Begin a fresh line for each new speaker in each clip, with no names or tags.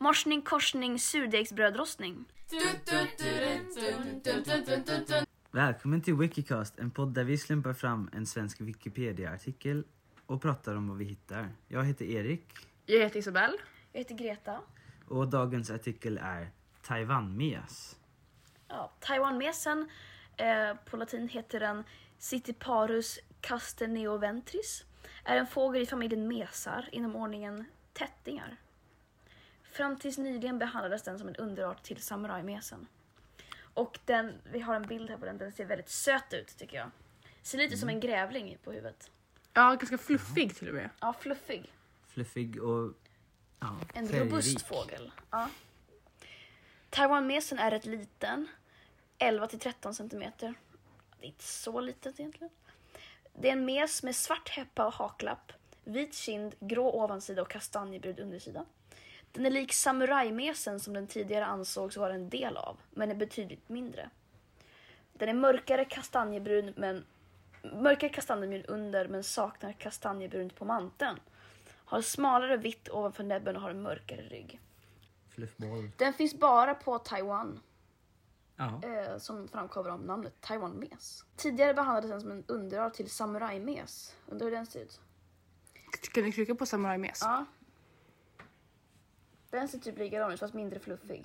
Morsning, korsning, surdegsbrödrostning.
Välkommen till Wikicast, en podd där vi slumpar fram en svensk Wikipedia-artikel och pratar om vad vi hittar. Jag heter Erik
Jag heter Isabel.
Jag heter Greta.
och dagens artikel är Taiwan-mias.
Ja, Taiwanmesen, eh, på latin heter den Citiparus castaneoventris, är en fågel i familjen mesar inom ordningen tättingar. Fram tills nyligen behandlades den som en underart till samurajmesen. Och den, vi har en bild här på den, den ser väldigt söt ut tycker jag. Ser lite ut som en grävling på huvudet.
Ja, ganska fluffig till och med.
Ja, fluffig.
Fluffig och ja,
En
färgrik.
robust fågel. Ja. Taiwanmesen är rätt liten, 11 till 13 centimeter. Det är inte så litet egentligen. Det är en mes med svart häppa och haklapp, vit kind, grå ovansida och kastanjebrun undersida. Den är lik samurajmesen som den tidigare ansågs vara en del av, men är betydligt mindre. Den är mörkare kastanjebrun, men mörkare kastanjebrun under, men saknar kastanjebrunt på manteln. Har smalare vitt ovanför näbben och har en mörkare rygg.
Fluffboll.
Den finns bara på Taiwan,
Ja.
eh, som framkommer av namnet Taiwan-mes. Tidigare behandlades den som en underart till samurajmes. Undrar hur den ser ut?
Kan du klicka på samurajmes?
Ja. Den ser typ likadan ut fast mindre fluffig.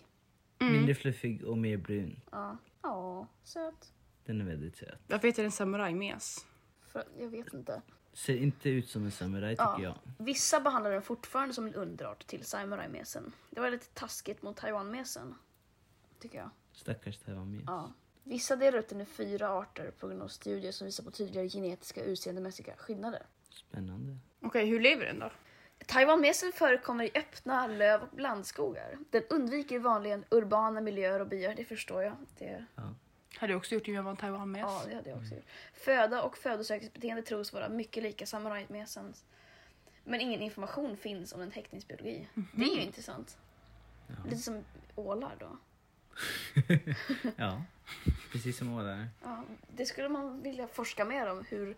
Mm.
Mindre fluffig och mer brun.
Ja, ja söt.
Den är väldigt söt.
Varför heter den samurajmes?
För, jag vet inte.
Ser inte ut som en samuraj tycker jag.
Vissa behandlar den fortfarande som en underart till samurajmesen. Det var lite taskigt mot Taiwanmesen. Tycker jag.
Stackars Taiwan-mias.
Ja. Vissa delar upp den i fyra arter på grund av studier som visar på tydligare genetiska och utseendemässiga skillnader.
Spännande.
Okej, hur lever den då?
Taiwanmesen förekommer i öppna löv och blandskogar. Den undviker vanligen urbana miljöer och byar, det förstår jag. Det,
Hade jag också gjort om jag var en taiwanmes.
ja, det hade jag också gjort. Föda och födosökningsbeteende tros vara mycket lika samurajmesens. Men ingen information finns om den häckningsbiologi. Det
Mhm.
är ju intressant. Lite som ålar då.
Ja, precis som ålar.
Ja, det skulle man vilja forska mer om. Hur...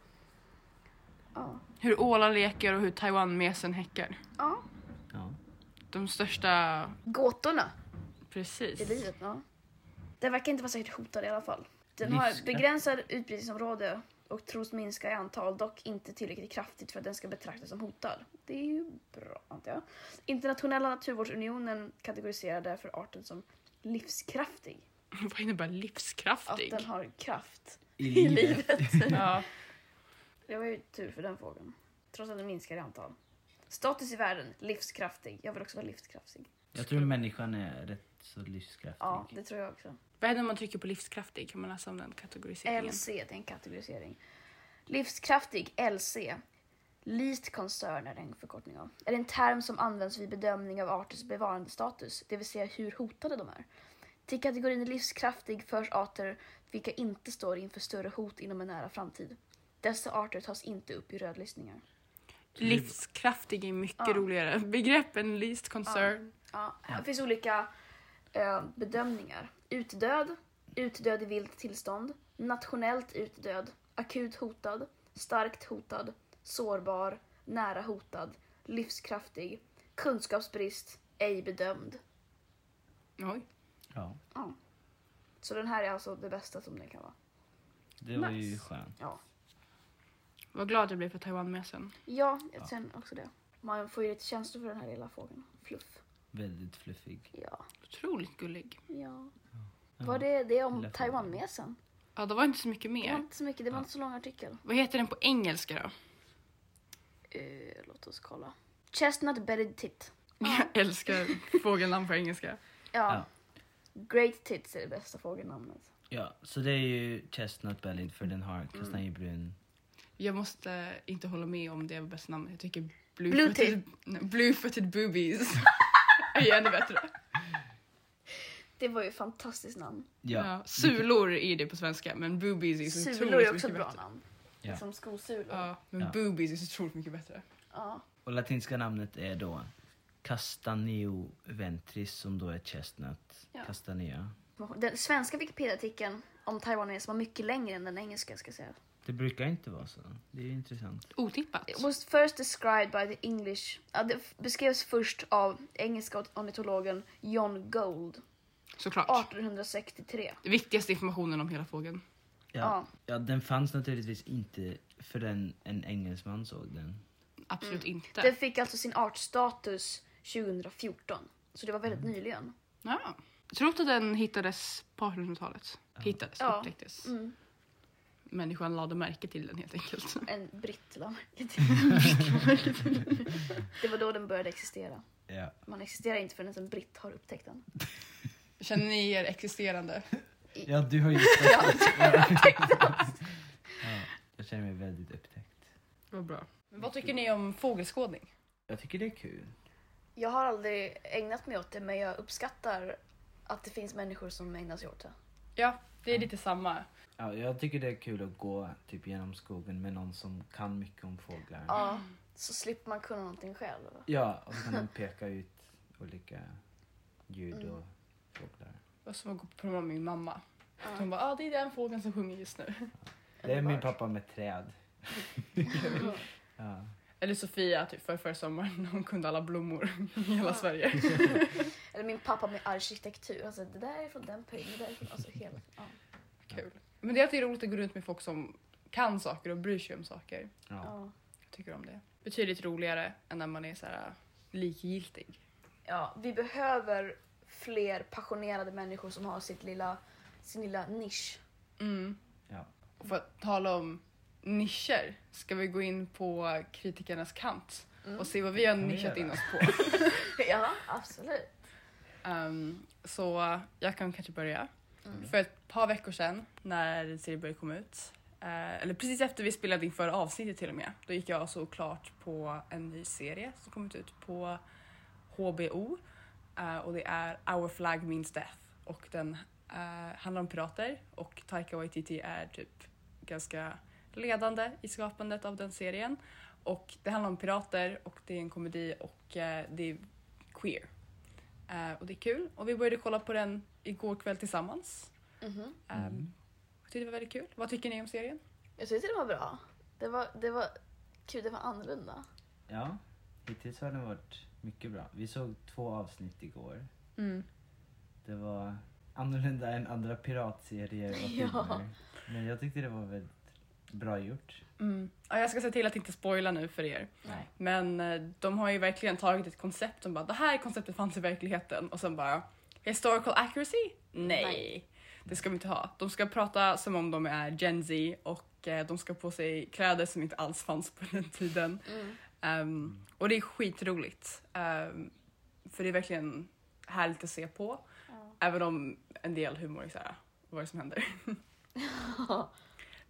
Ja.
Hur ålar leker och hur taiwanmesen häckar.
ja.
Ja.
De största...
Gåtorna.
Precis.
i livet. Ja. Den verkar inte vara särskilt hotad i alla fall. Den
Livskraft.
har begränsad utbredningsområde och tros minska i antal, dock inte tillräckligt kraftigt för att den ska betraktas som hotad. Det är ju bra, antar jag. Internationella naturvårdsunionen kategoriserar därför arten som livskraftig.
Vad innebär
Att
livskraftig?
den har kraft
I
i livet.
Ja.
Det var ju tur för den frågan. Trots att den minskar i antal. Status i världen, livskraftig. Jag vill också vara livskraftig.
Jag tror människan är rätt så livskraftig.
Ja, det tror jag också.
Vad händer om man trycker på livskraftig? Kan man läsa om den kategoriseringen?
LC, det är en kategorisering. Livskraftig, LC. Least concern är det en förkortning av. Är en term som används vid bedömning av arters bevarandestatus, det vill säga hur hotade de är. Till kategorin livskraftig förs arter vilka inte står inför större hot inom en nära framtid. Dessa arter tas inte upp i rödlistningar.
Livskraftig är mycket roligare begrepp än least concern.
Ja, här finns olika eh, bedömningar. Utdöd, utdöd i vilt tillstånd, nationellt utdöd, akut hotad, starkt hotad, sårbar, nära hotad, livskraftig, kunskapsbrist, ej bedömd.
Oj.
Ja,
Ja. Så den här är alltså det bästa som den kan vara.
det var ju
Nice.
skönt.
Ja,
Vad glad jag blev för taiwanmesen.
ja jag känner också det. Man får ju lite känslor för den här lilla fågeln. Fluff.
Väldigt fluffig.
Ja,
Otroligt gullig.
ja. Var det det om
lilla fågeln.
Taiwanmesen?
Ja, det var inte så mycket
Det var
mer.
inte så mycket, det var inte så lång artikel.
Vad heter den på engelska då?
Eh, låt oss kolla. Chestnut bedded tit.
Jag älskar fågelnamn på engelska.
Ja.
Ja.
Great tits är det bästa fågelnamnet.
Ja, så det är ju chestnut bellied för den har kastanjebrun.
Jag måste inte hålla med om det var bästa namnet. Jag tycker
Blue
Bluefooted blue Bluefooted Boobies är ännu bättre.
Det var ju ett fantastiskt namn.
Ja.
Ja. Sulor är det på svenska, men boobies är så
Sulor är
otroligt
också ett
mycket
bra
bättre.
namn.
Ja.
Som skosulor. Ja.
Ja, men
Ja.
boobies är så otroligt mycket bättre.
Och latinska namnet är då castaneo ventris som då är chestnut.
Ja.
Castanea.
Den svenska Wikipedia-artikeln om Taiwan är som var mycket längre än den engelska ska jag säga.
Det brukar inte vara så. Det är ju intressant.
Otippat.
It was first described by the English... Ja, det f- beskrevs först av engelska ornitologen John Gould
Såklart.
1863.
Det Viktigaste informationen om hela fågeln.
Ja.
Ja.
ja, den fanns naturligtvis inte förrän en engelsman såg den.
Absolut inte.
Den fick alltså sin artstatus 2014. Så det var väldigt
Mm.
nyligen.
Ja. Jag tror att den hittades på 1800-talet. Hittades,
Ja.
upptäcktes.
Mm.
Människan lade märke till den helt enkelt.
En britt la märke till. Det var då den började existera.
Ja.
Man existerar inte förrän en britt har upptäckt den.
Känner ni er existerande?
Ja, du har ju upptäckt ja, Jag känner mig väldigt upptäckt.
Vad bra. Men vad tycker ni om fågelskådning?
Jag tycker det är kul.
Jag har aldrig ägnat mig åt det men jag uppskattar att det finns människor som ägnar sig åt det.
Ja, det är lite samma.
Ja, jag tycker det är kul att gå typ genom skogen med någon som kan mycket om fåglar.
Ja, så slipper man kunna någonting själv.
Ja, och så kan de peka ut olika ljud
Mm.
och fåglar.
Och som att gå på promenad med min mamma. Hon bara, ah, det är den fågeln som sjunger just nu.
Det är min pappa med träd. ja.
Eller Sofia, typ för förra sommaren, när hon kunde alla blommor i hela Sverige.
Eller min pappa med arkitektur. Alltså, det där är från den perioden. Det där är från, alltså, hela, ja.
Kul. Men det är alltid roligt att gå runt med folk som kan saker och bryr sig om saker.
Ja.
Ja.
Jag tycker om det. Betydligt roligare än när man är så här äh, likgiltig.
ja, vi behöver fler passionerade människor som har sitt lilla, sin lilla nisch.
Mm.
Ja.
Och för att tala om nischer ska vi gå in på kritikernas kant och se vad Mm. vi har
Kan vi
nischat
göra?
in oss på.
Ja, absolut.
Ehm, så jag kan kanske börja. För ett par veckor sedan när Silberg kom ut, eh, eller precis efter vi spelade in förra avsnittet till och med, då gick jag såklart på en ny serie som kommit ut på HBO eh, och det är Our Flag Means Death och den eh, handlar om pirater och Taika Waititi är typ ganska ledande i skapandet av den serien och det handlar om pirater och det är en komedi och eh, det är queer. Eh, och det är kul och vi började kolla på den igår kväll tillsammans.
Mhm.
Ehm,
Mm.
Jag tyckte det var väldigt kul. Vad tycker ni om serien?
Jag tyckte det var bra. Det var, det var kul, det var annorlunda.
ja, hittills har den varit mycket bra. Vi såg två avsnitt igår. Det var annorlunda än andra piratserier och filmer.
Ja.
Men jag tyckte det var väldigt bra gjort.
Mm. Ja, jag ska se till att inte spoila nu för er.
Nej.
Men eh, de har ju verkligen tagit ett koncept och bara det här konceptet fanns i verkligheten och sen bara historical accuracy? Nej.
Nej.
Det ska vi inte ha. De ska prata som om de är Gen Z och eh, de ska på sig kläder som inte alls fanns på den tiden.
Mm.
Ehm, och det är skitroligt. Ehm, för det är verkligen härligt att se på. Även om en del humor är såhär, vad är det som händer?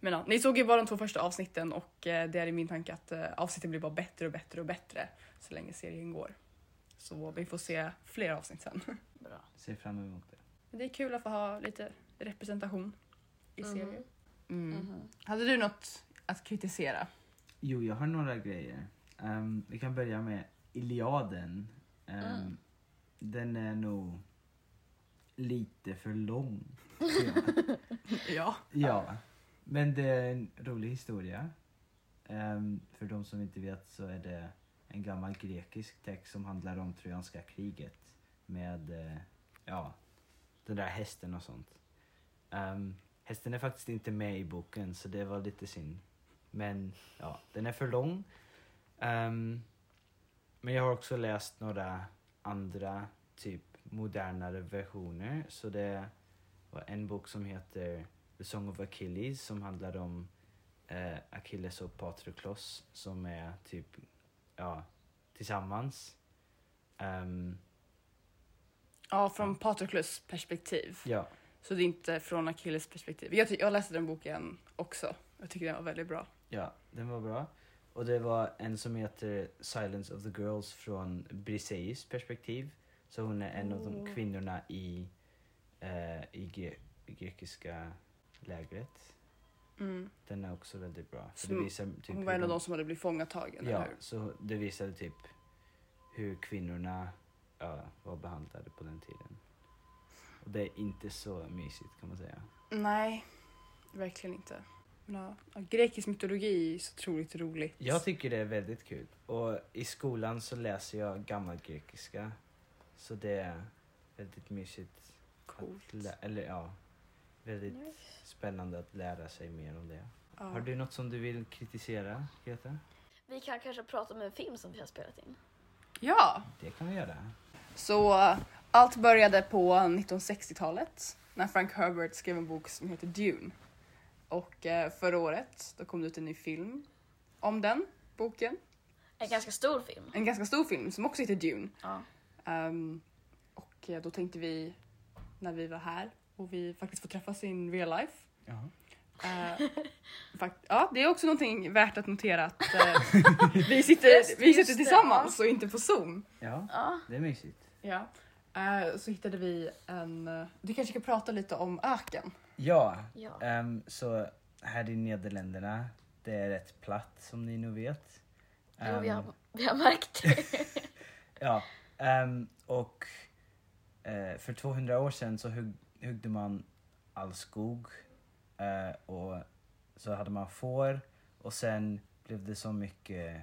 Men ja, ni såg ju bara de två första avsnitten och eh, det är i min tanke att eh, avsnitten blir bara bättre och bättre och bättre så länge serien går. Så vi får se fler avsnitt sen.
Bra.
Ser fram emot det.
Men det är kul att få ha lite representation i serier. Mm.
Mm-hmm.
Hade du något att kritisera?
Jo, jag har några grejer. Ehm, vi kan börja med Iliaden. Ehm, Den är nog lite för lång.
Ja.
ja, men det är en rolig historia. Ehm, för de som inte vet så är det en gammal grekisk text som handlar om Trojanska kriget med eh, ja, den där hästen och sånt. Ehm, hästen är faktiskt inte med i boken så det var lite synd. Men ja, den är för lång. Ehm, men jag har också läst några andra typ modernare versioner. Så det var en bok som heter The Song of Achilles som handlar om eh, Achilles och Patroklos som är typ, ja, tillsammans. Ehm,
Ja, från Patroklus perspektiv.
ja,
Så det är inte från Achilles perspektiv. Jag, ty- jag läste den boken också. Jag tycker den var väldigt bra.
Ja, den var bra. Och det var en som heter Silence of the Girls från Briseis perspektiv. Så hon är en av de
Oh.
kvinnorna i, eh, i gre- grekiska lägret.
Mm.
Den är också väldigt bra. För
Som-
det visar typ
Hon var
hur
en av
de-
de som hade blivit fångatagen,
Ja,
eller hur?
så det visade typ hur kvinnorna ja, var behandlade på den tiden. Och det är inte så mysigt kan man säga.
Nej, verkligen inte. Men, ja, ja, grekisk mytologi är så otroligt roligt.
Jag tycker det är väldigt kul. Och i skolan så läser jag gammalgrekiska. Så det är väldigt mysigt.
Coolt.
Att lä- eller ja,
Mm-hmm.
väldigt spännande att lära sig mer om det.
Ja.
Har du något som du vill kritisera, Greta?
Vi kan kanske prata om en film som vi har spelat in.
ja,
Det kan vi göra.
så eh, allt började på 1960-talet när Frank Herbert skrev en bok som heter Dune. Och eh, förra året då kom det ut en ny film om den boken.
En ganska stor film.
En ganska stor film som också heter Dune.
Ja.
Ehm, och eh, då tänkte vi när vi var här och vi faktiskt får träffas in real life
Ja.
Eh, fakt- ja, det är också någonting värt att notera att eh, vi sitter,
Just-
vi
just
sitter
det,
tillsammans och inte på Zoom.
ja,
ja.
det är mysigt.
Ja. Eh, så hittade vi en... eh, Du kanske ska prata lite om öken?
Ja,
Ja.
Ehm, så här i Nederländerna, det är rätt platt som ni nog vet.
Jo, vi, har,
Ehm,
vi har märkt det.
Ja, ehm, och eh, för 200 år sedan så hugg, huggde man all skog eh, och så hade man får och sen blev det så mycket,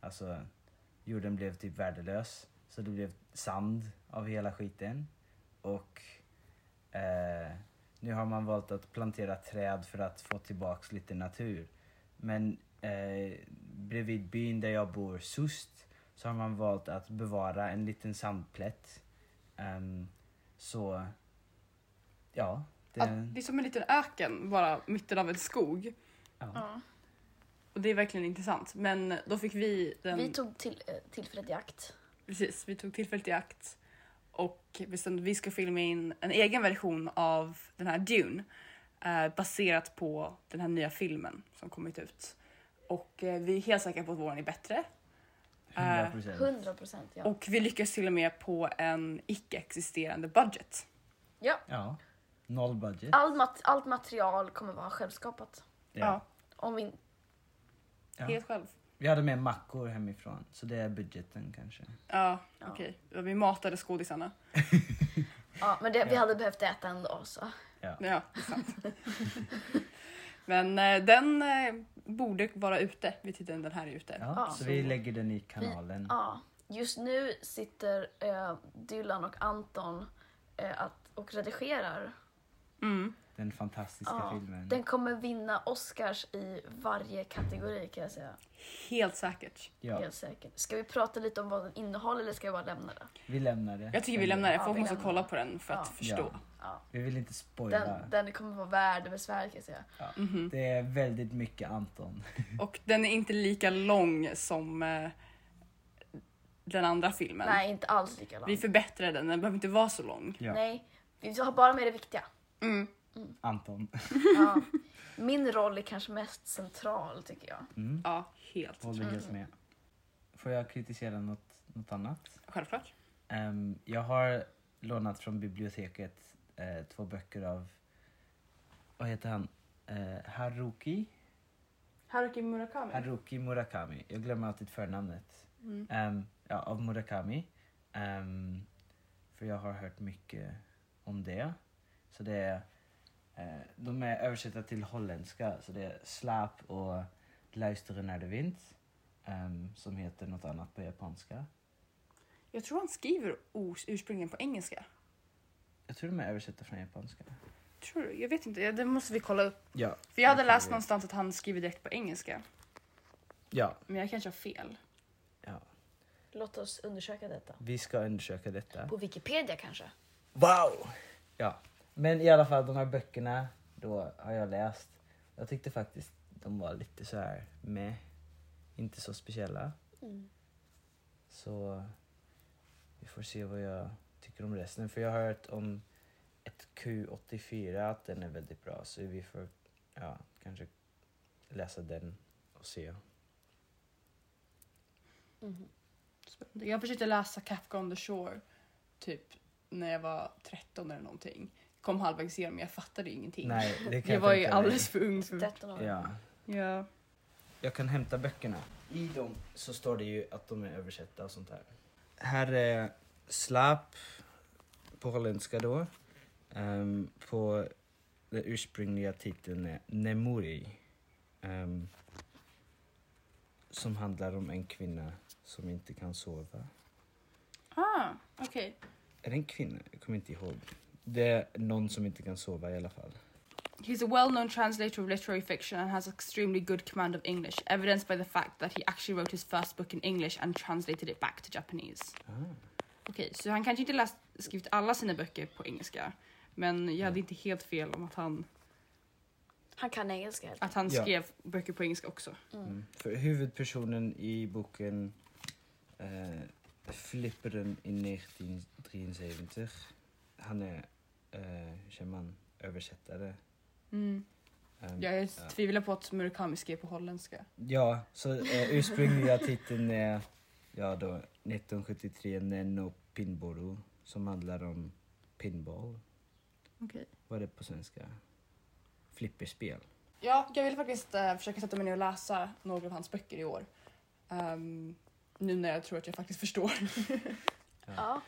alltså jorden blev typ värdelös så det blev sand av hela skiten och eh, nu har man valt att plantera träd för att få tillbaks lite natur. Men eh, bredvid byn där jag bor, Sust, så har man valt att bevara en liten sandplätt. Ehm, så, ja. Det,
Att det är som en liten öken bara mitten av en skog.
ja.
Ja.
Och det är verkligen intressant. Men då fick vi den...
Mm.
Vi tog till, eh, tillfället i akt.
Precis, vi tog tillfället i akt och bestämde att vi ska filma in en egen version av den här Dune eh, baserat på den här nya filmen som kommit ut. Och eh, vi är helt säkra på att våran är bättre.
100 procent.
100 procent ja.
Och vi lyckas till och med på en icke-existerande budget.
ja.
Ja. Noll budget.
All mat, allt material kommer vara självskapat.
Ja.
Om vi,
Ja.
Helt själv.
Vi hade med mackor hemifrån, så det är budgeten kanske.
Ja,
Ja.
okej. Vi matade skådisarna.
ja, men det, vi
Ja.
hade behövt äta ändå så.
Ja.
Ja, det är sant. Men eh, den eh, borde vara ute vid tiden den här är ute.
Ja,
Ja.
så vi lägger den i kanalen.
Ja. Just nu sitter eh, Dylan och Anton eh, att, och redigerar.
Mm.
Den fantastiska
Ja.
filmen.
Den kommer vinna Oscars i varje kategori kan jag säga.
Helt säkert.
Ja,
Helt säkert. Ska vi prata lite om vad den innehåller eller ska vi bara lämna det?
vi lämnar det.
Jag tycker vi lämnar det.
Ja,
Folk
vi
måste
lämnar.
kolla på den för att
Ja.
förstå.
Ja.
Ja.
Vi vill inte spoila.
Den, den kommer vara värd besväret kan jag säga.
Ja.
Mhm.
Det är väldigt mycket Anton.
Och den är inte lika lång som eh, den andra filmen.
Nej, inte alls lika lång.
Vi förbättrar den, den behöver inte vara så lång.
Ja.
Nej, vi har bara med det viktiga.
Mm.
Anton.
Ja. Min roll är kanske mest central tycker jag.
Mm.
Ja, helt.
Håller
Mm.
helt med. Får jag kritisera något, något annat?
Självklart.
Ehm, jag har lånat från biblioteket eh, två böcker av, vad heter han, eh, Haruki?
Haruki Murakami.
Haruki Murakami. Jag glömmer alltid förnamnet.
Mm.
Ehm, ja, av Murakami. Ehm, för jag har hört mycket om det. Så det är, eh, de är översatta till holländska. Så det är Slaap och Luisteren naar de wind. ehm, som heter något annat på japanska.
Jag tror han skriver ors- ursprungligen på engelska.
Jag tror de är översatta från japanska.
Tror du? Jag vet inte, Ja, det måste vi kolla upp.
Ja.
För jag hade
Det kan
läst
vi-
någonstans att han skriver direkt på engelska.
Ja.
Men jag kanske har fel.
ja.
Låt oss undersöka detta.
Vi ska undersöka detta.
På Wikipedia kanske?
Wow! Ja. Men i alla fall, de här böckerna då har jag läst. Jag tyckte faktiskt de var lite så här med. Inte så speciella. Så vi får se vad jag tycker om resten. För jag har hört om ett Q84 att den är väldigt bra. Så vi får ja, kanske läsa den och se.
Mm.
Spännande. Jag försökte läsa Kafka on the Shore typ när jag var 13 eller någonting. Kom halvvägs igenom, jag fattade ingenting.
Nej, det kan
Jag var ju
tänka mig.
alldeles för ung för
13 år.
Ja.
Ja.
Jag kan hämta böckerna. I dem så står det ju att de är översatta och sånt här. Här är Slapp på holländska då. Ehm, på den ursprungliga titeln är Nemuri. Ehm, som handlar om en kvinna som inte kan sova.
Ah, okej.
Är det en kvinna? Jag kommer inte ihåg. Det är någon som inte kan sova i alla fall.
He's a well-known translator of literary fiction and has extremely good command of English, evidenced by the fact that he actually wrote his first book in English and translated it back to Japanese.
Ah.
Okej, så han kanske inte läst, skrivit alla sina böcker på engelska, men jag hade inte helt fel om att han,
Han kan engelska helt
att han
Ja.
skrev böcker på engelska också.
Mm. För huvudpersonen i boken eh, Flipperen i 1973. Han är, eh, hur säger man, översättare.
Mm.
Ehm,
Jag
Ja.
tvivlar på att Murakami skrev på holländska.
Ja, så eh, ursprungliga titeln är ja då 1973 Nenno Pinboro som handlar om pinball.
Okej.
Vad är det på svenska? Flipperspel.
Ja, jag vill faktiskt eh, försöka sätta mig ner och läsa några av hans böcker i år. Ehm, nu när jag tror att jag faktiskt förstår.
Ja,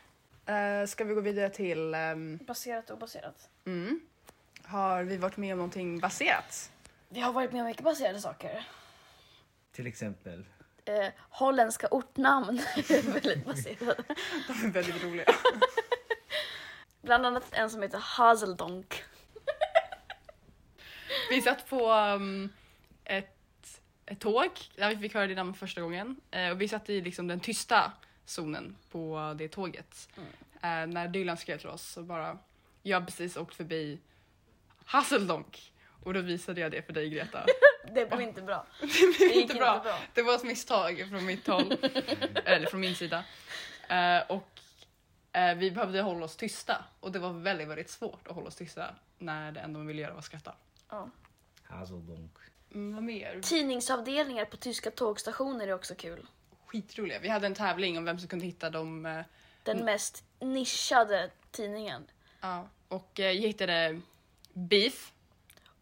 Uh, ska vi gå vidare till... ehm,
baserat och baserat.
mm. Har vi varit med om någonting baserat?
Vi har varit med om mycket baserade saker.
Till exempel.
Eh, holländska ortnamn är väldigt baserade.
De är väldigt roliga.
Bland annat en som heter Hazeldonk.
Vi satt på ehm, ett, ett tåg där vi fick höra det namn första gången. Eh, och vi satt i liksom, den tysta zonen på det tåget. Eh, när Dylan skrev till oss så bara, jag har precis åkt förbi Hasseldonk. Och då visade jag det för dig Greta.
Det blev inte bra.
Det gick inte bra. Det var ett misstag från mitt håll. Eller från min sida. Eh, och eh, vi behövde hålla oss tysta. Och det var väldigt, väldigt svårt att hålla oss tysta när det enda man ville göra var skratta.
Ja.
Hazeldonk.
Mm, vad mer?
Tidningsavdelningar på tyska tågstationer är också kul.
skitroliga. Vi hade en tävling om vem som kunde hitta dem. eh,
Den mest nischade tidningen.
Ja. Och eh, jag hittade Beef.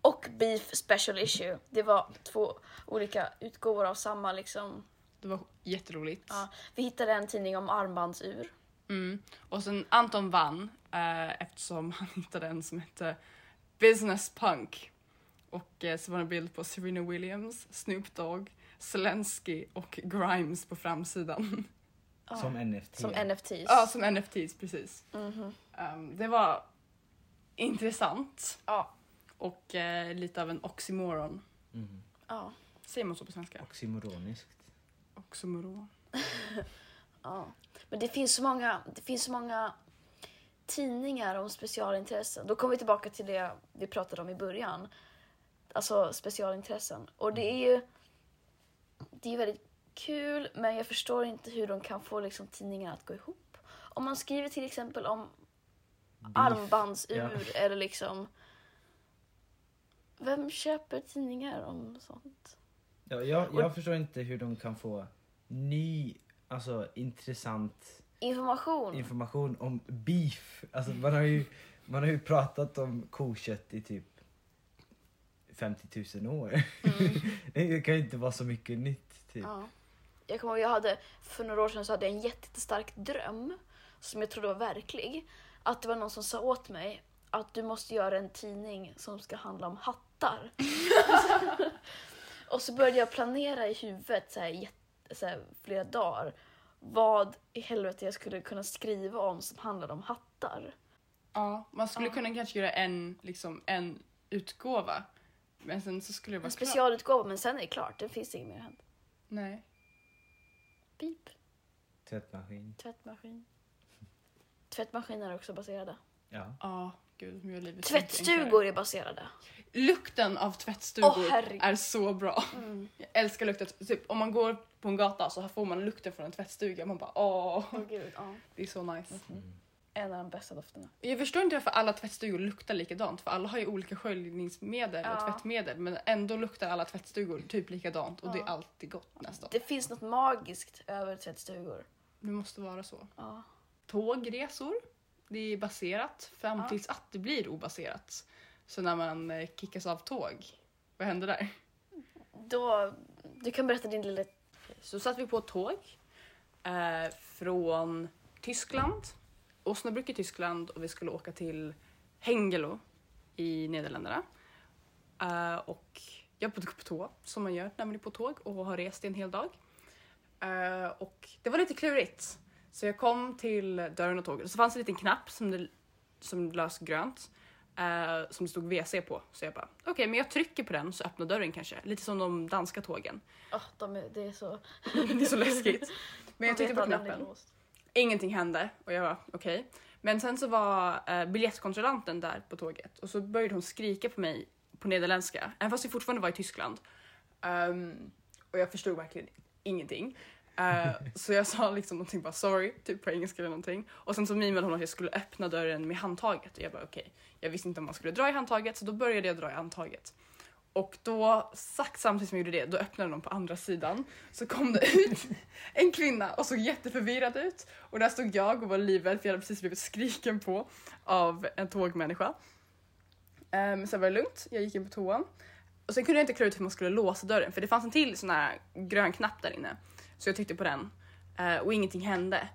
Och Beef Special Issue. Det var två olika utgåvor av samma liksom.
Det var jätteroligt.
Ja. Vi hittade en tidning om armbandsur.
Mm. Och sen Anton vann eh, eftersom han hittade en som hette Business Punk. Och eh, så var det en bild på Serena Williams, Snoop Dogg, Zelensky och Grimes på framsidan.
Ja.
Som NFT.
Som
Mm.
NFTs.
Ja, som NFTs precis.
Mhm.
Um, det var intressant
Ja.
och eh, lite av en oxymoron.
Mm.
Ja.
Säger man så på svenska?
Oxymoroniskt.
Oxymoron.
Ja. Men det finns så många, det finns så många tidningar om specialintressen. Då kommer vi tillbaka till det vi pratade om i början. Alltså specialintressen. Och det är ju det är väldigt kul men jag förstår inte hur de kan få liksom, tidningarna att gå ihop. Om man skriver till exempel om armbandsur eller liksom... Vem köper tidningar om sånt?
Ja, jag, jag förstår inte hur de kan få ny, alltså intressant
Information.
information om beef. Alltså man har ju, man har ju pratat om kokött i typ 50 000 år. det kan ju inte vara så mycket nytt. Typ.
Ja. Jag kommer ihåg, jag hade, för några år sedan så hade jag en jätte- jättestark dröm som jag trodde var verklig. Att det var någon som sa åt mig att du måste göra en tidning som ska handla om hattar. och så började jag planera i huvudet så här, jätte- så här, flera dagar vad i helvete jag skulle kunna skriva om som handlade om hattar.
Ja, man skulle
Ja.
kunna kanske göra en, liksom, en utgåva. Men sen så skulle det vara
En
klart.
specialutgåva, men sen är det klart, det finns inget mer hänt.
Nej.
Pip,
Tvättmaskin.
tvättmaskin. Tvättmaskiner är också baserade.
Ja.
Ja, gud, nu gör livet så mycket enklare.
Tvättstugor är baserade.
Lukten av tvättstugor
Åh, herregud.
är så bra.
Mm.
Jag älskar lukten. Typ, om man går på en gata så här får man lukten från en tvättstuga. Man bara åh,
Åh gud, ja.
det är så nice.
Mm. En av de bästa dofterna.
Jag förstår inte varför alla tvättstugor luktar likadant för alla har ju olika sköljningsmedel och
Ja.
tvättmedel men ändå luktar alla tvättstugor typ likadant och det är
Ja.
alltid gott nästan.
Det finns något magiskt över tvättstugor.
Det måste vara så.
Ja.
tågresor. Det är baserat fram
Ja.
tills att det blir obaserat. Så när man eh, kickas av tåg, vad händer där?
Då, du kan berätta din lilla...
Så satt vi på ett tåg eh, från Tyskland, Osnabrück i Tyskland och vi skulle åka till Hengelo i Nederländerna. Eh, och jag gick på tå, som man gör när man är på tåg och har rest i en hel dag. Eh, och det var lite klurigt. Så jag kom till dörren av tåget och så fanns det en liten knapp som, det, som lös grönt. eh, som det stod WC på. Så jag bara, okej men jag trycker på den så öppnar dörren kanske. Lite som de danska tågen.
Oh, de är, det är så...
Det är så läskigt.
Man
Men jag
vet
tryckte på
aldrig om det är
knappen.
låst.
Ingenting hände och jag var okej. Men sen så var eh, biljettkontrollanten där på tåget och så började hon skrika på mig på nederländska, även fast vi fortfarande var i Tyskland. Ehm, och jag förstod verkligen ingenting. Eh, så jag sa liksom någonting bara sorry, typ på engelska eller någonting. Och sen så mimade hon att jag skulle öppna dörren med handtaget och jag bara okej. Jag visste inte om man skulle dra i handtaget så då började jag dra i handtaget. Och då, exakt samtidigt som jag gjorde det, då öppnade de på andra sidan. Så kom det ut en kvinna och såg jätteförvirrad ut. Och där stod jag och var livrädd för jag hade precis blivit skriken på av en tågmänniska. Um, sen var det lugnt, jag gick in på toan. Och sen kunde jag inte klura ut hur man skulle låsa dörren för det fanns en till sån här grön knapp där inne. Så jag tryckte på den eh, och ingenting hände.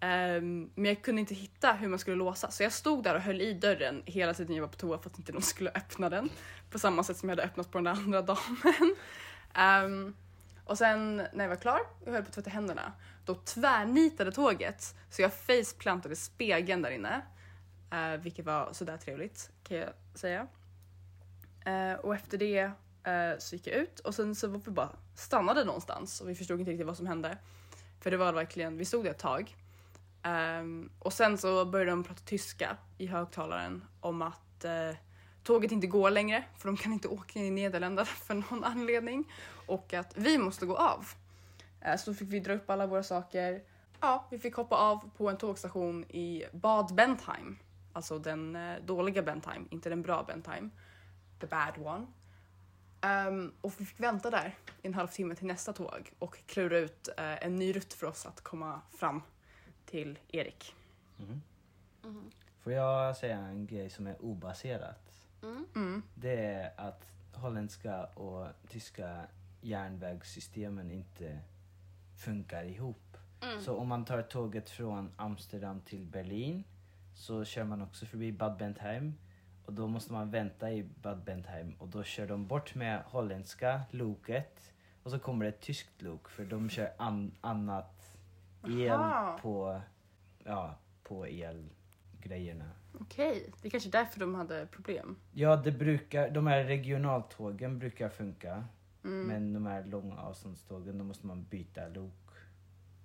Ehm, men jag kunde inte hitta hur man skulle låsa så jag stod där och höll i dörren hela tiden jag var på toa för att inte någon skulle öppna den. På samma sätt som jag hade öppnat på den där andra damen. Ehm, och sen när jag var klar och höll på att tvätta händerna, då tvärnitade tåget så jag faceplantade spegeln där inne. Eh, vilket var sådär trevligt kan jag säga. Eh, och efter det eh, så gick jag ut och sen så var vi bara stannade någonstans och vi förstod inte riktigt vad som hände. För det var verkligen, vi stod där ett tag. Ehm, och sen så började de prata tyska i högtalaren om att eh, tåget inte går längre för de kan inte åka in i Nederländerna för någon anledning och att vi måste gå av. Eh, Så då fick vi dra upp alla våra saker. Ja, vi fick hoppa av på en tågstation i Bad Bentheim. Alltså den eh, dåliga Bentheim, inte den bra Bentheim. The bad one. Ehm, och vi fick vänta där i en halvtimme till nästa tåg och klura ut eh, en ny rutt för oss att komma fram till Erik.
Mm.
Mhm.
Får jag säga en grej som är obaserat?
Mm.
Mm.
Det är att holländska och tyska järnvägssystemen inte funkar ihop.
Mm.
Så om man tar tåget från Amsterdam till Berlin så kör man också förbi Bad Bentheim och då måste man vänta i Bad Bentheim och då kör de bort med holländska loket och så kommer det ett tyskt lok för de kör an- annat el
Aha.
på, ja, på elgrejerna.
Okej, det är kanske är därför de hade problem.
Ja, det brukar, de här regionaltågen brukar funka.
Mm.
Men de här långa avståndstågen, då måste man byta lok.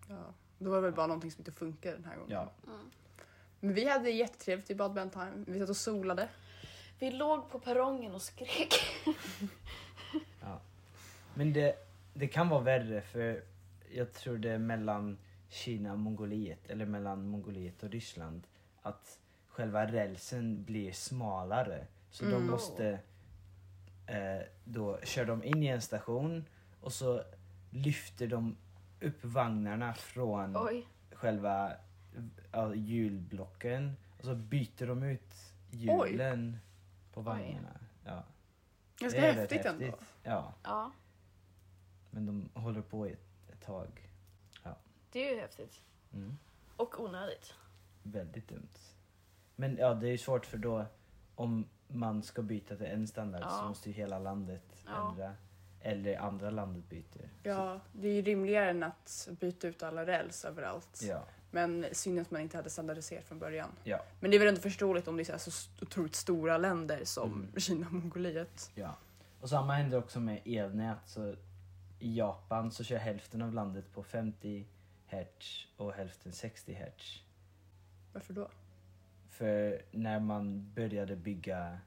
Ja. Det var det väl bara någonting som inte funkade den här gången.
Ja.
Men vi hade jättetrevligt i Bad Bentheim. Vi satt och solade.
Vi låg på perrongen och skrek.
Men det, det kan vara värre för jag tror det är mellan Kina och Mongoliet, eller mellan Mongoliet och Ryssland, att själva rälsen blir smalare. Så de
Mm.
måste, eh, då kör de in i en station och så lyfter de upp vagnarna från
Oj.
själva ja, hjulblocken och så byter de ut hjulen på vagnarna. Ja.
Ganska
Det är rätt
häftigt ändå.
Ja,
Ja,
men de håller på i ett, ett tag.
det är ju häftigt.
Mm.
Och onödigt.
Väldigt dumt. Men ja, det är ju svårt för då om man ska byta till en standard så
Ja.
måste ju hela landet
Ja.
ändra. Eller andra landet byter.
Ja, det är ju rimligare än att byta ut alla räls överallt.
Så, ja.
Men synd att man inte hade standardiserat från början.
Ja.
Men det är väl ändå förståeligt om det är så, här så st- otroligt stora länder som
Mm.
Kina och Mongoliet.
Ja. Och samma händer också med elnät. Så I Japan så kör hälften av landet på 50 hertz och hälften 60 hertz.
Varför då?
För när man började bygga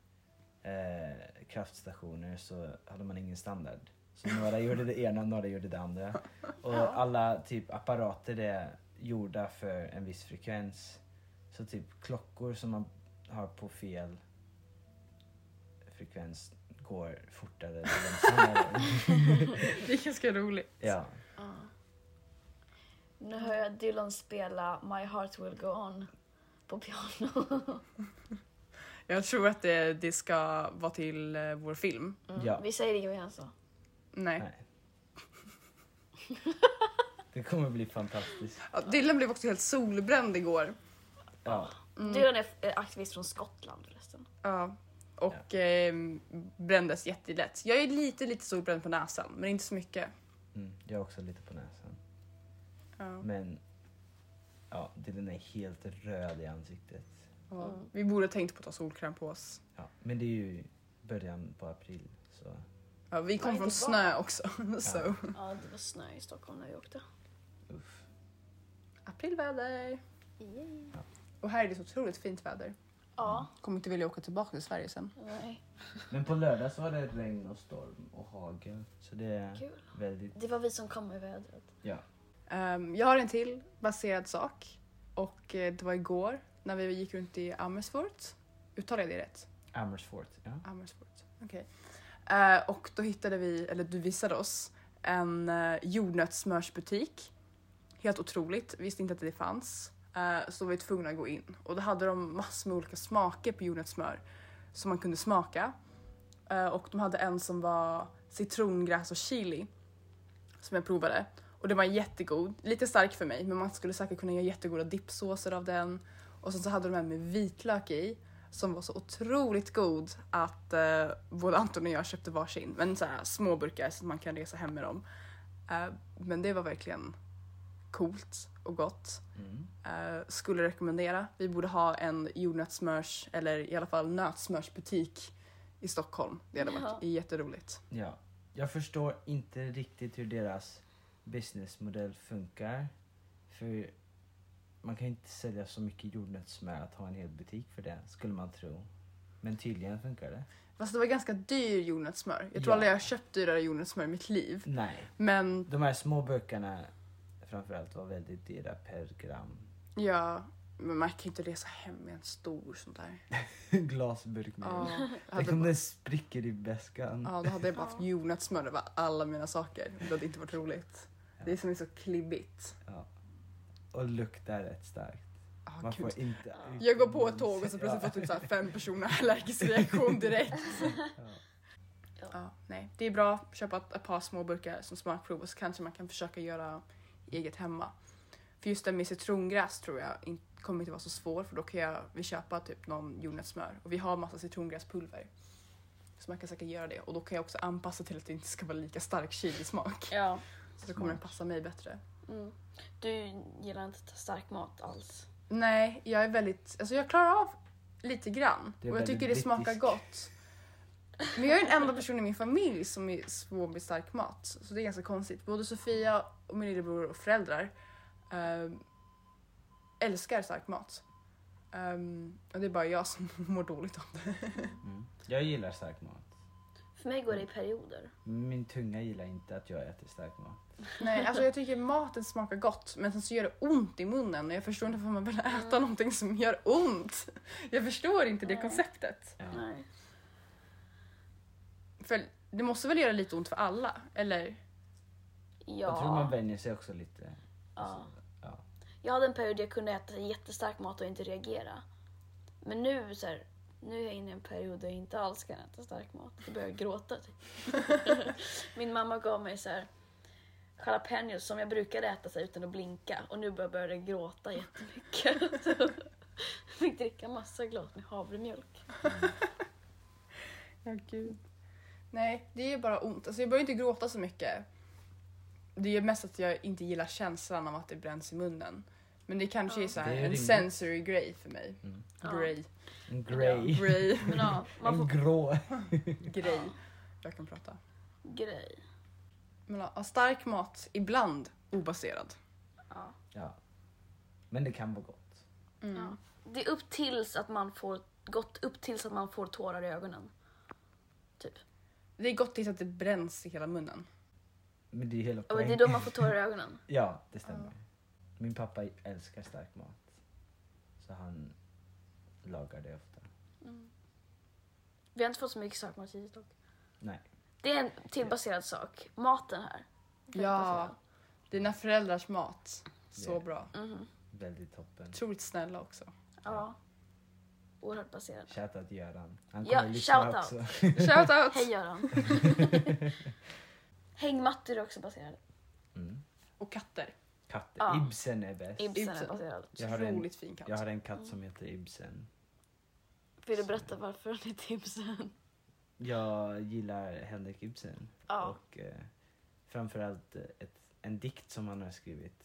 eh, kraftstationer så hade man ingen standard. Så några gjorde det ena och några gjorde det andra. Och alla typ apparater är gjorda för en viss frekvens. Så typ klockor som man har på fel frekvens går fortare eller långsammare.
Det är ganska roligt.
ja.
Ja. Nu hör jag Dylan spela My heart will go on på piano.
Jag tror att det, det ska vara till eh, vår film.
Mm.
Ja.
Vi säger inget mer än så.
Nej.
Nej. Det kommer bli fantastiskt.
Ja, Dylan blev också helt solbränd igår.
Ja.
Dylan är eh, aktivist från Skottland förresten.
Ja. och eh, brändes jättelätt. Jag är lite, lite solbränd på näsan, men inte så mycket.
Mm, jag har också lite på näsan.
Ja.
Men ja, den är helt röd i ansiktet.
Ja.
Mm.
Vi borde ha tänkt på att ta solkräm på oss.
Ja, men det är ju början på april. Så.
Ja, vi kom
Ja, inte
från
bara.
snö också. Så.
Ja, det var snö i Stockholm när vi åkte.
Uff.
Aprilväder.
Yay.
Och här är det så otroligt fint väder.
Ja,
Kommer inte vilja åka tillbaka till Sverige sen.
nej,
Men på lördag så var det regn och storm och hagel. Så det är
kul.
väldigt...
Det var vi som kom med vädret.
Ja.
Ehm, jag har en till baserad sak. Och eh, det var igår när vi gick runt i Amersfoort. Uttalade jag det rätt?
Amersfoort. Ja.
Amersfoort. Okej. Eh, och då hittade vi, eller du visade oss, en uh, jordnötssmörsbutik. Helt otroligt, visste inte att det fanns. Eh, så var vi tvungna att gå in. Och då hade de massor med olika smaker på jordnötssmör som man kunde smaka. Eh, och de hade en som var citrongräs och chili som jag provade. Och den var jättegod, lite stark för mig men man skulle säkert kunna göra jättegoda dippsåser av den. Och sen så hade de en med vitlök i som var så otroligt god att eh, både Anton och jag köpte varsin. Men så här, små burkar så att man kan resa hem med dem. Eh, men det var verkligen coolt och gott.
Mm.
Eh, skulle rekommendera. Vi borde ha en jordnötssmörs eller i alla fall nötsmörsbutik i Stockholm. Det hade varit
Ja.
jätteroligt.
ja. Jag förstår inte riktigt hur deras businessmodell funkar. För man kan inte sälja så mycket jordnötssmör att ha en hel butik för det, skulle man tro. Men tydligen funkar det.
Fast det var ganska dyr jordnötssmör. Jag tror
Ja.
aldrig jag har köpt dyrare jordnötssmör i mitt liv.
Nej.
Men
De här små burkarna framförallt var väldigt dyra per gram.
ja, men man kan ju inte resa hem med en stor sån där.
Glasburk med.
Ja, jag hade
Tänk om den spricker i väskan.
Ja, då hade jag bara haft
Ja.
jordnötssmör över alla mina saker. Det hade inte varit roligt. Det är som är så klibbigt.
Ja. Och luktar rätt starkt.
Ah,
Man
gud.
får inte ut-
Jag går på ett tåg och så plötsligt får typ så här fem personer allergisk reaktion direkt.
Ja.
Ja, nej. Det är bra att köpa ett, ett par små burkar som smakprov och så kanske man kan försöka göra eget hemma. För just det med citrongräs tror jag in, kommer inte vara så svår för då kan jag, vi köpa typ någon jordnötssmör och vi har massa citrongräspulver. Så man kan säkert göra det och då kan jag också anpassa till att det inte ska vara lika stark chilismak.
Ja.
Så då kommer den passa mig bättre.
Mm. Du gillar inte stark mat alls.
Nej, jag är väldigt... Alltså jag klarar av lite grann.
Det är
och jag tycker det
väldigt
smakar
brittisk.
gott. Men jag är den enda personen i min familj som är svår med stark mat. Så det är ganska konstigt. Både Sofia och min lillebror och föräldrar eh, älskar stark mat. Ehm, och det är bara jag som mår dåligt av det.
Mm. Jag gillar stark mat.
För mig går det i perioder.
Min tunga gillar inte att jag äter stark mat.
Nej, alltså jag tycker maten smakar gott men sen så gör det ont i munnen och jag förstår inte varför man vill äta någonting som gör ont. Jag förstår inte det
Mm. Nej.
konceptet.
Ja.
Nej.
För det måste väl göra lite ont för alla, eller?
Ja.
Jag tror man vänjer sig också lite.
ja.
Ja.
Jag hade en period där jag kunde äta jättestark mat och inte reagera. Men nu så här, nu är jag inne i en period där jag inte alls kan äta stark mat. Då börjar jag gråta. typ. Min mamma gav mig så här jalapenos som jag brukade äta så här, utan att blinka och nu börjar jag börja gråta jättemycket. Så jag fick dricka massa glas med havremjölk.
Ja, gud. Nej, det är bara ont. Alltså jag börjar inte gråta så mycket. Det är mest att jag inte gillar känslan av att det bränns i munnen. Men det kanske
Ja.
är så
Det
här,
är
en
rimligt.
sensory grey för mig.
Mm.
Ja.
Grey.
En grey.
Grey.
Men ja, man
En
får
grå.
grey. Jag kan prata.
grej.
Men ja, stark mat, ibland obaserad.
Ja.
Ja. Men det kan vara gott.
Ja. Det är upp tills att man får gott upp tills att man får tårar i ögonen. Typ.
Det är gott tills att det bränns i hela munnen.
Men det är hela
Och det är
poängen.
då man får tårar i ögonen.
Ja, det stämmer. Min pappa älskar stark mat. Så han lagar det ofta.
Vi har inte fått så mycket sakmat hittills dock.
Nej.
Det är en till baserad sak. Maten här.
Ja, dina föräldrars mat. Så
Yeah.
bra.
Mhm.
Väldigt toppen.
Otroligt snälla också.
Ja. Oerhört baserad.
Shoutout Göran. Han
Ja,
kommer lyssna
shoutout.
också.
Shout out!
Hej Göran. Hängmattor är också baserad.
Mm.
Och katter.
Katter.
Ja.
Ibsen är bäst.
Ibsen är
Ibsen.
baserad.
Jag har en-
Otroligt fin katt.
Jag har en katt som heter Ibsen.
Vill du berätta varför han är Ibsen?
Jag gillar Henrik Ibsen.
Ja.
Och eh, framförallt eh, ett, en dikt som han har skrivit.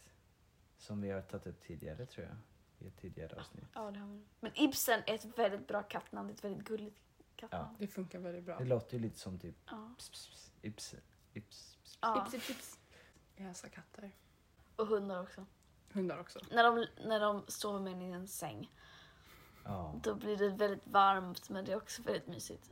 Som vi har tagit upp tidigare tror jag. I ett tidigare avsnitt.
ja det har vi. Men Ibsen är ett väldigt bra kattnamn. Det är ett väldigt gulligt kattnamn.
Det funkar väldigt bra.
Det låter ju lite som typ
Ja.
ps, ps, ps, Ibsen. Ips, ps, ps.
Ja.
Ips, ips, ips. Jag älskar katter.
Och hundar också.
Hundar också.
När de, när de sover med en i en säng,
Ja.
då blir det väldigt varmt men det är också väldigt mysigt.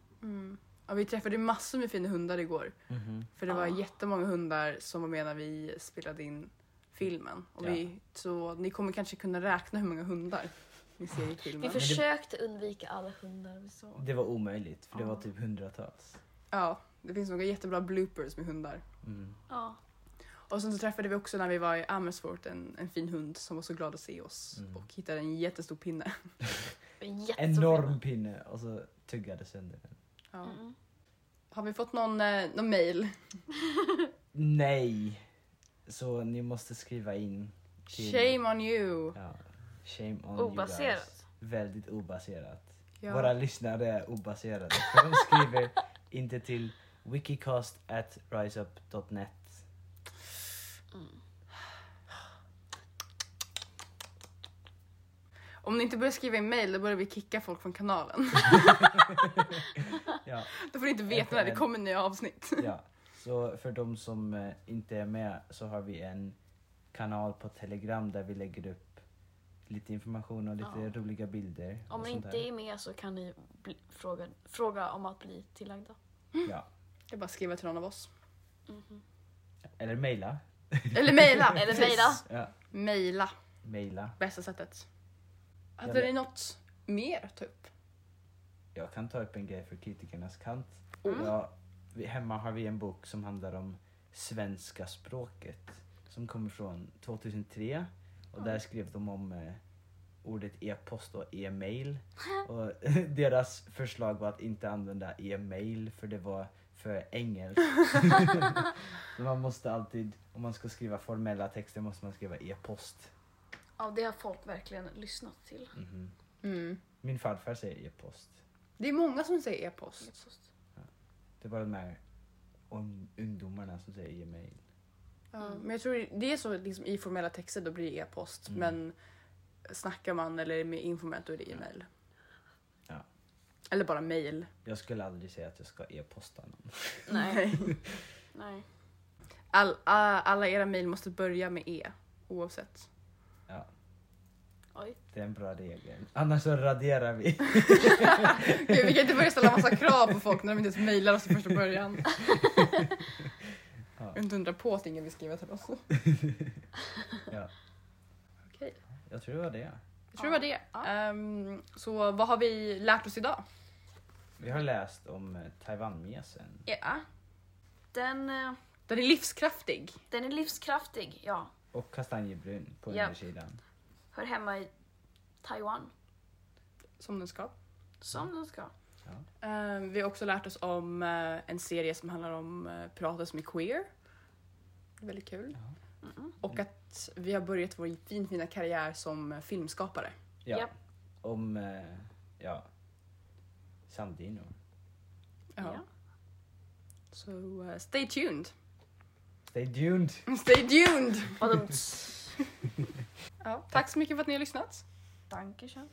Ja, vi träffade massor med fina hundar igår.
Mhm.
För det var
Ah.
jättemånga hundar som var med när vi spelade in filmen. Och
Ja.
vi, så ni kommer kanske kunna räkna hur många hundar ni ser i
Vi
filmen.
försökte undvika alla hundar vi såg.
Det var omöjligt för det
Ja.
var typ hundratals.
Ja, det finns några jättebra bloopers med hundar.
Mm.
Ja.
Och sen så träffade vi också när vi var i Amersfoort en, en fin hund som var så glad att se oss
Mm.
och hittade en jättestor pinne.
Jättefina.
Enorm pinne och så tuggade sönder den.
Ja.
Mm.
Har vi fått någon, eh, någon mail?
Nej! Så ni måste skriva in. Till-
Shame on you!
Ja. Shame on you guys.
Obaserat.
Väldigt obaserat.
Ja.
Våra lyssnare är obaserade. För de skriver inte till wikicast at riseup.net.
Om ni inte börjar skriva i mail då börjar vi kicka folk från kanalen.
Ja,
Då får ni inte veta när det kommer nya avsnitt.
ja. Så för de som eh, inte är med så har vi en kanal på Telegram där vi lägger upp lite information och lite
Ja.
roliga bilder.
Om
och
ni
sånt
inte
där.
är med så kan ni bli, fråga, fråga om att bli tillagda.
Ja.
Det är bara att skriva till någon av oss.
Mhm.
Eller mejla.
Eller mejla!
Eller
Precis.
mejla.
Ja.
Mejla,
Mejla.
bästa sättet.
Jag
Hade
vet.
ni något mer att ta upp?
Jag kan ta upp en grej för kritikernas kant.
Mm.
Ja, vi, hemma har vi en bok som handlar om svenska språket som kommer från 2003 och
Mm.
där skrev de om eh, ordet e-post och e-mail och deras förslag var att inte använda e-mail för det var för engelskt. Så man måste alltid, om man ska skriva formella texter måste man skriva e-post.
Ja, det har folk verkligen lyssnat till.
Mhm.
Mm.
Min farfar säger e-post.
Det är många som säger e-post.
Det var de här un- ungdomarna som säger e-mail.
Ja, Mm. Men jag tror det är så liksom, i formella texter då blir det e-post.
Mm.
Men snackar man eller är mer informellt då är det e-mail.
Ja.
Eller bara mail.
Jag skulle aldrig säga att jag ska e-posta någon.
Nej, nej.
All, a- alla era mail måste börja med e. Oavsett.
Ja,
Oj.
det är en bra regel. Annars så raderar vi.
Gud, vi kan inte börja ställa massa krav på folk när de inte ens mejlar oss i första början.
Ja.
Inte undra på att ingen vill skriva till oss.
Ja.
Okej,
Jag tror det var det.
jag tror det var det.
Ja.
Ehm, så vad har vi lärt oss idag?
Vi har läst om eh, Taiwanmesen.
Ja.
Den, eh,
Den är livskraftig.
den är livskraftig, ja.
Och kastanjebrun på
Ja.
undersidan.
Hör hemma i Taiwan,
Som den ska.
som den ska.
Eh, vi har också lärt oss om eh, en serie som handlar om uh, pirater som är queer. Väldigt kul.
Mm-mm.
Och att vi har börjat vår fin, fina karriär som eh, filmskapare.
Ja.
Japp.
Om, eh, ja. Sandino.
Ja.
Så eh, stay tuned!
Stay tuned!
Stay tuned!
Och de...
Ja, tack så mycket för att ni har lyssnat.
Dankeschön.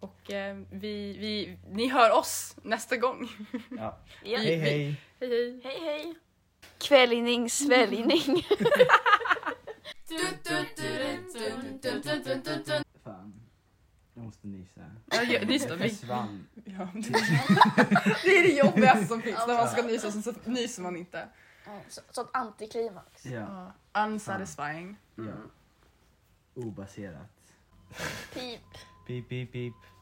Och eh, vi, vi, ni hör oss nästa gång.
Ja.
Ja.
Hej hej!
Hej hej!
Hej, hej. Kvällning, sväljning.
Fan. Jag måste nysa.
Ja, ju- nyss då,
Jag
vi-
försvann.
Ja, det det är det jobbigaste som finns när man ska nysa och sen så nyser man inte.
Så, sånt antiklimax.
Ja.
Ja.
Mm.
Unsatisfying.
ja. Obaserat.
Pip.
Pip, pip, pip.